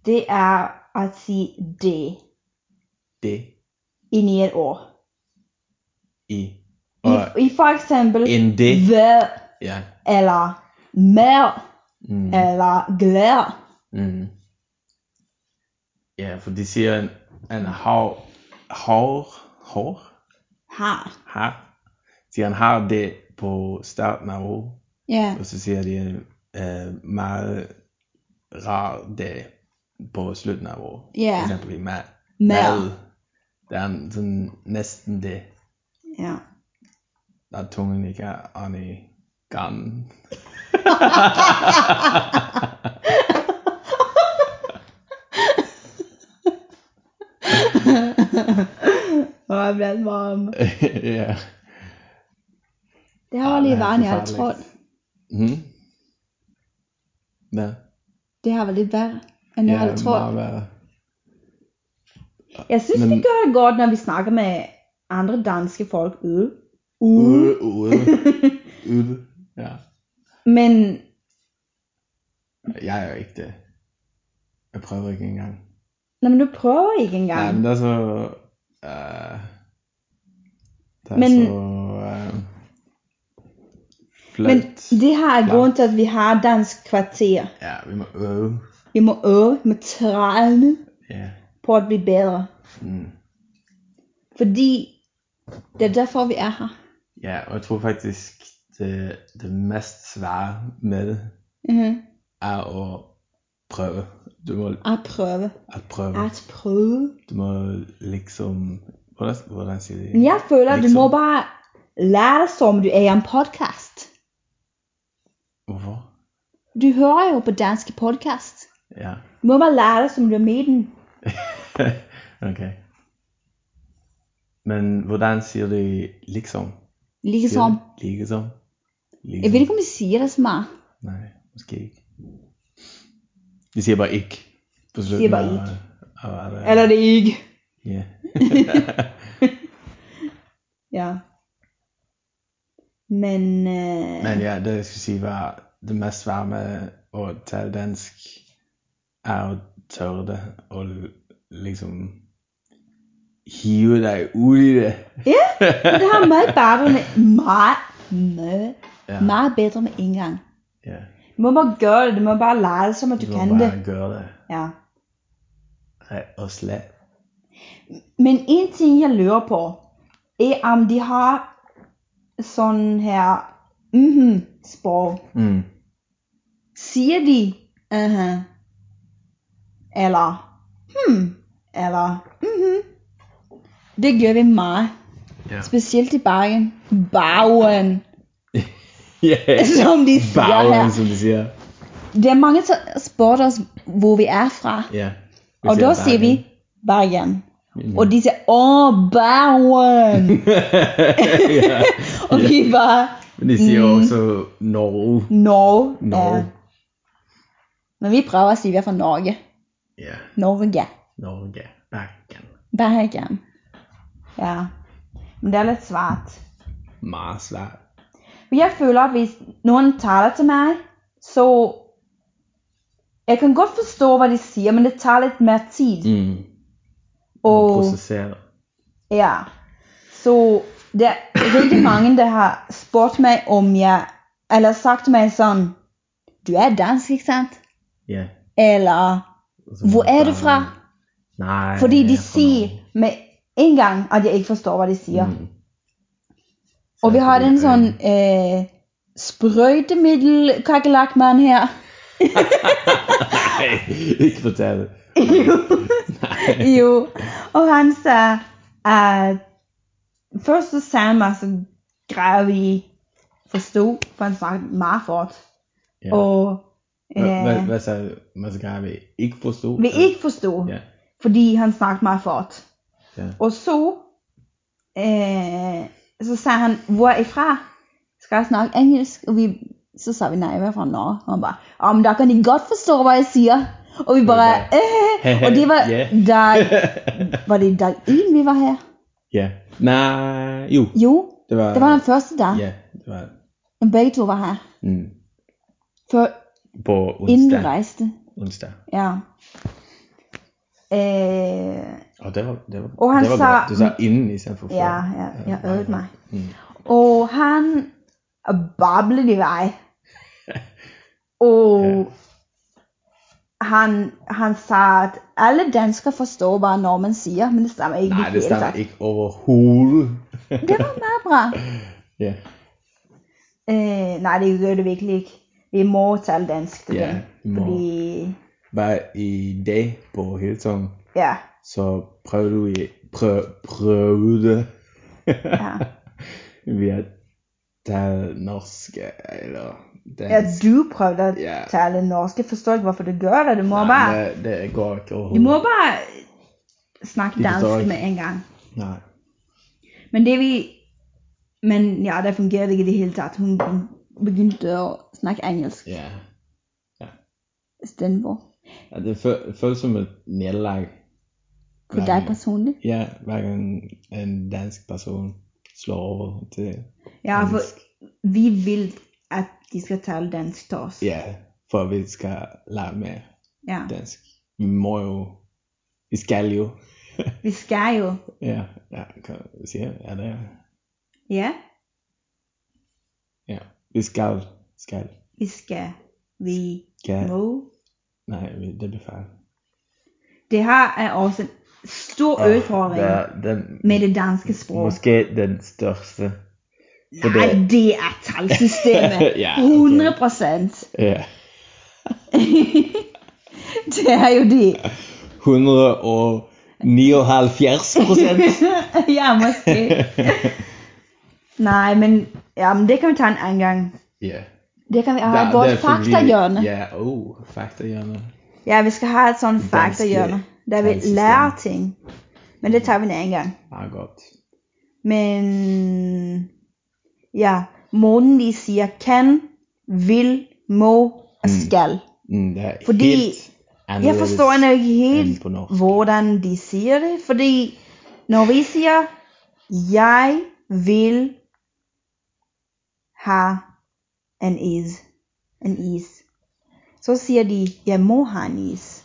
B: det er å si det
A: De.
B: inni et år.
A: I.
B: I,
A: Og
B: i for eksempel
A: in de.
B: vær
A: Ja.
B: eller mer
A: Mm.
B: eller glær.
A: Mm. Ja, for de sier en, en hard Hard? Hår?
B: Her.
A: Her? Sier en hard D på starten av ord,
B: Ja.
A: og så sier de en eh, mer rar D på slutten av ord.
B: Ja.
A: For eksempel i mæ-
B: Mer.
A: mæl. Det er en sånn nesten D.
D: Ja.
A: Der tungen ikke er an i ganen.
B: Å, jeg ble helt varm.
A: ja.
B: Det
A: Ja,
B: her var
A: det er
B: litt
A: forferdelig.
B: verre enn jeg hadde trodd.
A: Mhm. Ja.
B: Det her var litt verre enn jeg hadde trodd.
A: meget værre.
B: Jeg syns
A: Men-
B: vi gjør det godt når vi snakker med andre danske folk. Uh. Uh.
A: Ude, ude, ude. Ja.
B: Men
A: Jeg er jo ikke det. Jeg prøver ikke engang.
B: Nei, men du prøver ikke
A: Nei,
B: engang.
A: men det er så øh, Det er
B: Men-
A: så øh,
B: Men
A: flaut.
B: det her er
A: Flaut.
B: grunnen til at vi har dansk kvarter.
A: Ja, vi må øve.
B: Vi må øve, vi må trene
A: Ja.
B: på å bli bedre.
A: Mm.
B: Fordi det er derfor vi er her.
A: ja, og jeg tror faktisk det, det mest svære med det
B: Mhm.
A: er å prøve. Du må
B: At prøve.
A: at prøve.
B: At prøve.
A: Du må liksom Hvordan, hvordan sier de
B: Men jeg føler at du
A: Liksom.
B: må bare lære deg som du er i en podkast.
A: Hvorfor?
B: Du hører jo på danske podkast.
A: Ja.
B: Du må bare lære deg som du er med i den.
A: ok. Men hvordan sier de liksom? Sier
B: Liksom.
A: de Liksom? liksom?
B: Jeg vet ikke om de sier det så mye.
A: Nei, måske ikke. De sier bare ikke. På slutten
B: Sier bare
A: av- av- av- av-
B: Eller det er ikke.
A: Ja.
B: Ja. Men, eh,
A: Men ja, det jeg skulle si var det mest svære med å tale dansk, er å tørre det og l- liksom hive deg ut i det.
B: men det her er mye bedre med Mye, mye,
A: Ja.
B: mye bedre med en gang.
A: ja.
B: Du må bare gjøre det. Du må bare lære det som at du,
A: må
B: kan det.
A: bare gjøre det.
B: Ja.
A: Rett og slett.
B: Men en ting jeg lurer på, er om de har sånn her mhm, språk.
A: Mm.
B: Sier de uh eller hm eller mhm. Det gjør vi mye.
A: Ja.
B: Spesielt i Bergen. Baugen,
A: Yeah.
B: som de sier
A: Baugen,
B: her.
A: som de sier.
B: Det er mange som spør oss hvor vi er fra,
A: Ja. Vi
B: og
A: sier
B: da sier vi
A: Bergen.
B: Bergen.
A: Mhm.
B: Og de sier 'Å, Baugen'.
A: ja.
B: Og vi bare
A: Men de sier
B: Mm.
A: også Norge.
B: No.
A: Norge.
B: eh, Men vi prøver å si vi er fra Norge.
A: Ja.
B: Norge.
A: Norge. Bergen.
B: Bergen. Ja. Men det er litt svært.
A: Masvær.
B: Men Jeg føler at hvis noen taler til meg, så Jeg kan godt forstå hva de sier, men det tar litt mer tid.
A: Mm. Og
B: Og
A: prosessere.
B: ja. Så det er veldig mange det har spurt meg om jeg Eller sagt til meg sånn Du er dansk, ikke sant?
A: Ja.
B: Eller
A: Og så må
B: Hvor er du
A: bare-
B: fra?
A: Nei,
B: Fordi
A: jeg
B: de
A: er fra
B: sier
A: Norge.
B: med en gang at jeg ikke forstår hva de sier.
A: Mm. Så
B: Og vi
A: jeg
B: har
A: tror
B: en
A: det er-
B: sånn eh, sprøytemiddelkakerlakkmann her.
A: Nei, ikke fortell det.
B: jo. Og han sa at først så sa han masse greier vi forsto, for han snakket meget fort.
A: Ja.
B: Og
A: Hva- hva-
B: eh,
A: Hva sa du? Hva skal vi ikke forstå?
B: vi ikke forsto,
A: Ja.
B: fordi han snakket meget fort.
A: Ja.
B: Og så eh, så sa han 'Hvor er I fra?' 'Skal jeg snakke engelsk?' Og vi, så sa vi nei, vi er fra Norge. Og han bare 'Ja, men da kan De godt forstå hva jeg sier.' Og vi bare
A: Og vi
B: eh, Og de var
A: Yeah.
B: dag Var det i dag én vi var her?
A: Yeah. Nei Jo,
B: Jo,
A: det var
B: det var den første dag.
A: Yeah, det var
B: Men begge to var her.
A: mm,
B: Før
A: På
B: innen du
A: onsdag.
B: reiste.
A: onsdag.
B: Ja. Eh,
A: Å, det var, det var,
B: Og han
A: det var
B: sa-
A: godt. Du sa innen istedenfor før.
B: ja, ja, jeg øvde meg.
A: eh, Mm.
B: Og han bablet i vei. Og han, han sa at alle dansker forstår hva nordmenn sier, men det stemmer ikke.
A: Nei, det
B: helt,
A: stemmer
B: altså.
A: ikke overhodet.
B: Det var meget bra.
A: Yeah.
B: Eh, nei, det gjør det virkelig ikke. Vi må tale dansk til
A: Ja, vi
B: dem.
A: må.
B: Fordi
A: Bare i dag på Hilton,
B: Ja.
A: så prøver du i prøv, prøv det.
B: ja.
A: Vi er til norske, eller
B: ja
A: dansk.
B: du prøvde å
A: Ja.
B: tale norsk. Jeg forstår ikke hvorfor du gjør det. Du må
A: Nei,
B: bare,
A: det, det går ikke
B: du må
A: overhodet.
B: bare snakke
A: De forstår
B: dansk
A: ikke.
B: med en gang.
A: Nei.
B: Men det vi Men ja, det fungerte ikke i det hele tatt. Hun begynte å snakke engelsk
A: Ja.
B: istedenfor.
A: Ja, Det fø- føles som et nederlag.
B: For
A: Nei.
B: deg personlig.
A: Ja, hver gang en dansk person slår over til
B: Ja, for
A: engelsk.
B: vi vil at de skal tale dansk til oss.
A: Ja, for at vi skal lære mer
B: Ja.
A: dansk. Vi må jo Vi skal jo.
B: Vi skal jo
A: Ja, ja kan jeg si det? Ja, det er
B: Ja,
A: Ja. Vi skal. Skal.
B: vi skal. Vi
A: Skal.
B: må.
A: Nei, vi- det blir feil.
B: Det her er også en stor utfordring
A: Det er den,
B: med det danske språket.
A: Måske den største. for det-
B: Nei, det er tallsystemet.
A: Ja, ok.
B: 100
A: Ja.
B: Det er jo de.
A: 179 prosent.
B: ja, måske. Nei, men, ja, men det kan vi ta en annen gang.
A: Ja.
B: Det kan vi ha
A: Der-
B: i vårt
A: derfor vi-
B: faktahjørne.
A: Ja, oh, faktahjørne.
B: Ja, vi skal ha et sånn faktahjørne der vi
A: tallsystem.
B: lærer ting. Men det tar vi en annen gang.
A: Ja, godt.
B: Men ja, måten de sier kan, vil, må og skal.
A: Mm, det er
B: Fordi
A: helt
B: Jeg
A: annerledes.
B: forstår ennå ikke
A: enn på norsk.
B: helt hvordan de sier det, fordi når vi sier 'jeg vil ha en is', en is, så sier de 'jeg må ha en is'.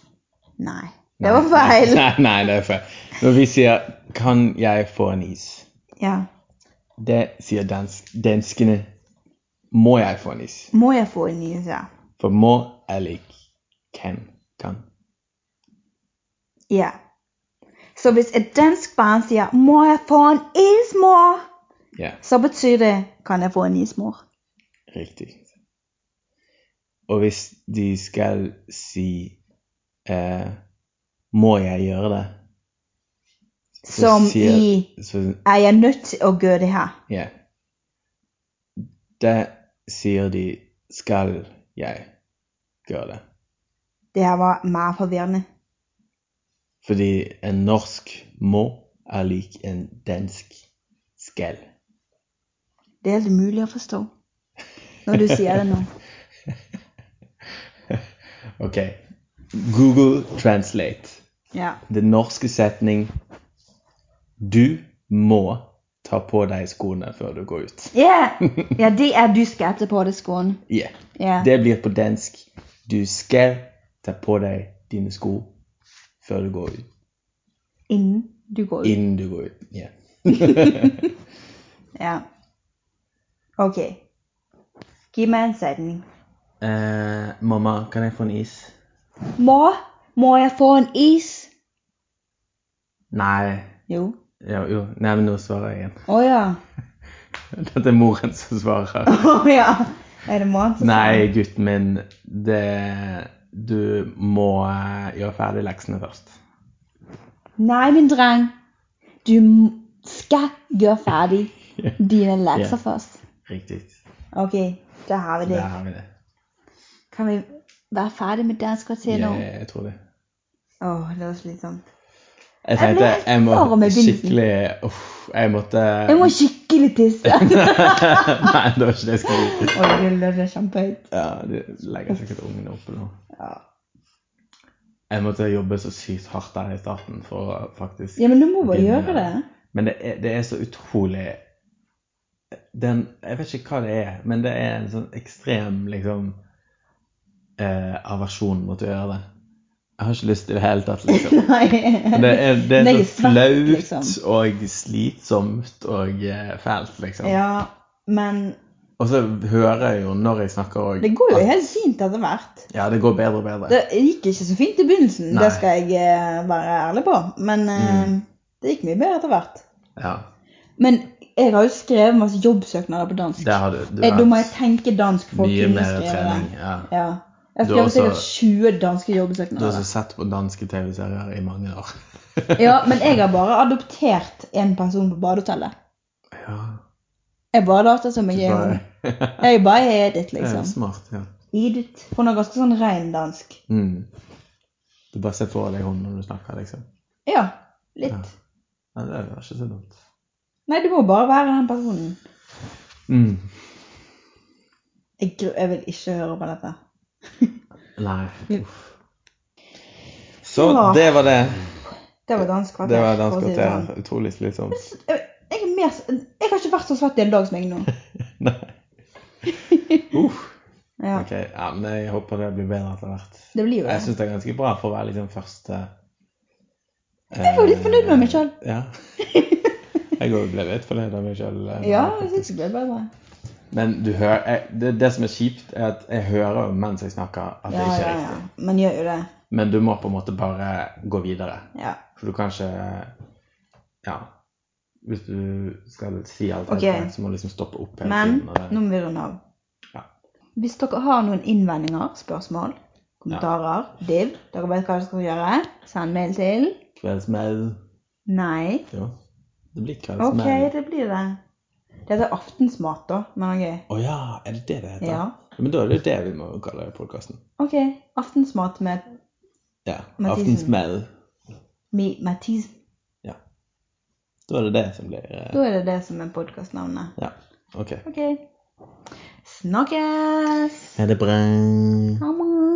B: Nei, det var feil.
A: Nei, nei, det er feil. Når vi sier 'Kan jeg få en is?'
B: Ja.
A: Det sier dansk, danskene 'Må jeg få en is?'
B: Må jeg få en is, ja.
A: For 'må' er lik 'kan'. kan.
B: ja. Så hvis et dansk barn sier 'må jeg få en is, mor',
A: Ja,
B: så betyr det 'kan jeg få en is, mor'?
A: riktig. Og hvis de skal si eh, 'Må jeg gjøre det?' så
B: Som
A: sier-
B: i
A: så,
B: er jeg nødt til å gjøre det her?
A: Ja. Da sier de 'Skal jeg gjøre det?'
B: Det her var meget forvirrende.
A: Fordi en norsk må er lik en dansk skal.
B: Det er helt umulig å forstå når du sier det nå.
A: Ok. Google Translate.
B: Ja.
A: Den norske setning Du må ta på deg skoene før du går ut.
B: ja, det er du skal ta på deg skoene.
A: Ja.
B: Ja.
A: Det blir på dansk Du skal ta på deg dine sko før du går ut.
B: Innen du går ut.
A: Innen du går ut. Ja.
B: Ja. Ok. Gi meg en setning.
A: Eh, mamma, kan jeg få en is?
B: Må, må jeg få en is?
A: Nei.
B: Jo.
A: Jo, jo. Nei, men nå svarer jeg igjen.
B: Å ja.
A: Dette er moren som svarer.
B: Å ja. Er det morgen?
A: Nei, gutten min. Det Du må eh, gjøre ferdig leksene først.
B: Nei, min dreng. Du m- skal gjøre ferdig dine lekser
A: Ja.
B: først.
A: Riktig.
B: Ok, da har vi det.
A: Der har vi det.
B: Kan vi være ferdig med dansk kvarter
A: Ja,
B: nå?
A: jeg tror det.
B: Åh, det var slitsomt.
A: Jeg
B: Jeg ble
A: tenkte
B: helt
A: jeg
B: klar
A: må
B: med begynnelsen.
A: skikkelig Uff, jeg måtte
B: Jeg må skikkelig pisse.
A: Nei, det var ikke det jeg skulle si.
B: Oi, det lød kjempehøyt.
A: Ja, du legger sikkert ungen oppe nå. Jeg måtte jobbe så sykt hardt der i starten for å faktisk
B: Ja, men du må bare
A: begynne.
B: gjøre det.
A: Men det er, det er så utrolig den, Jeg vet ikke hva det er, men det er en sånn ekstrem liksom eh, aversjon mot å gjøre det. Jeg har ikke lyst i det hele tatt, liksom.
B: Nei.
A: Men Det er, det er
B: Nei,
A: så
B: svart,
A: flaut
B: liksom.
A: og slitsomt og eh, fælt, liksom.
B: Ja, men
A: Og så hører jeg jo når jeg snakker òg
B: det går jo helt fint etter hvert.
A: Ja, det går bedre og bedre.
B: Det gikk ikke så fint i begynnelsen,
A: Nei. Mm.
B: det skal jeg eh, være ærlig på. Men eh, det gikk mye bedre etter hvert.
A: Ja,
B: Men jeg har jo skrevet masse jobbsøknader på dansk.
A: det har du. Du
B: Eh, Da må jeg
A: hatt
B: tenke dansk for å
A: mye
B: kunne
A: mer
B: skrive det.
A: trening. Ja.
B: Ja. Jeg
A: Du
B: skrev
A: har også-
B: sikkert 20 danske
A: Du har
B: jobbsøknader.
A: også sett på danske TV-serier i mange år.
B: Ja, men jeg har bare adoptert en person på badehotellet.
A: Ja,
B: Jeg bare later som jeg
A: du
B: er
A: bare,
B: hun. Jeg bare er Edith,
A: det er
B: liksom.
A: smart, ja.
B: Edith. Hun har ganske sånn rein dansk.
A: Mm. Du bare ser for deg hun når du snakker, liksom.
B: Ja, litt.
A: Ja. Ja, det var ikke så dumt.
B: Nei, du må bare være den personen.
A: Mm.
B: Jeg, gru- jeg vil ikke høre på dette.
A: Nei, uff. Så
B: Ja.
A: det var det.
B: Det var dansk kvarter.
A: Det var dansk
B: for å si det
A: kvarter. Utrolig slitsomt.
B: sånn. Jeg, jeg, er mer, s- jeg har ikke vært så svett i en dag som jeg er nå.
A: Nei. Uff.
B: Ja,
A: Ok, ja, men jeg håper det blir bedre etter hvert.
B: det blir jo
A: Jeg
B: det.
A: syns det er ganske bra for å være liksom første eh,
B: Jeg var litt fornøyd med meg selv.
A: Ja. Jeg òg ble litt fornøyd med meg sjøl.
B: Ja, jeg synes det blir bedre.
A: Men du hører, jeg, det, det som er kjipt, er at jeg hører mens jeg snakker at det
B: Ja,
A: ikke er
B: ja, ja.
A: riktig.
B: Men gjør jo det.
A: Men du må på en måte bare gå videre.
B: Ja.
A: For du kan ikke Ja. Hvis du skal si alt
B: Ok.
A: helt korrekt, så må du liksom stoppe opp hele
B: Men
A: tiden. og det-
B: nå må vi runde av.
A: Ja.
B: Hvis dere har noen innvendinger, spørsmål, kommentarer, div, dere vet hva dere skal gjøre, send mail til
A: Kveldsmeld.
B: Nei.
A: Jo. Det blir
B: OK,
A: kveldsmeld. Å
B: det blir det. Det heter aftensmat, da. Men OK.
A: ja, er det det det heter?
B: Ja.
A: Men da er det det vi må kalle podkasten.
B: OK. Aftensmat med
A: Ja.
B: Mathisen.
A: Aftensmeld.
B: Mi- Mathis.
A: Da er det det som blir eh,
B: Da er det det som er podkastnavnet.
A: Ja. OK.
B: OK. Snakkes!
A: Ha det bra.
B: Ha det.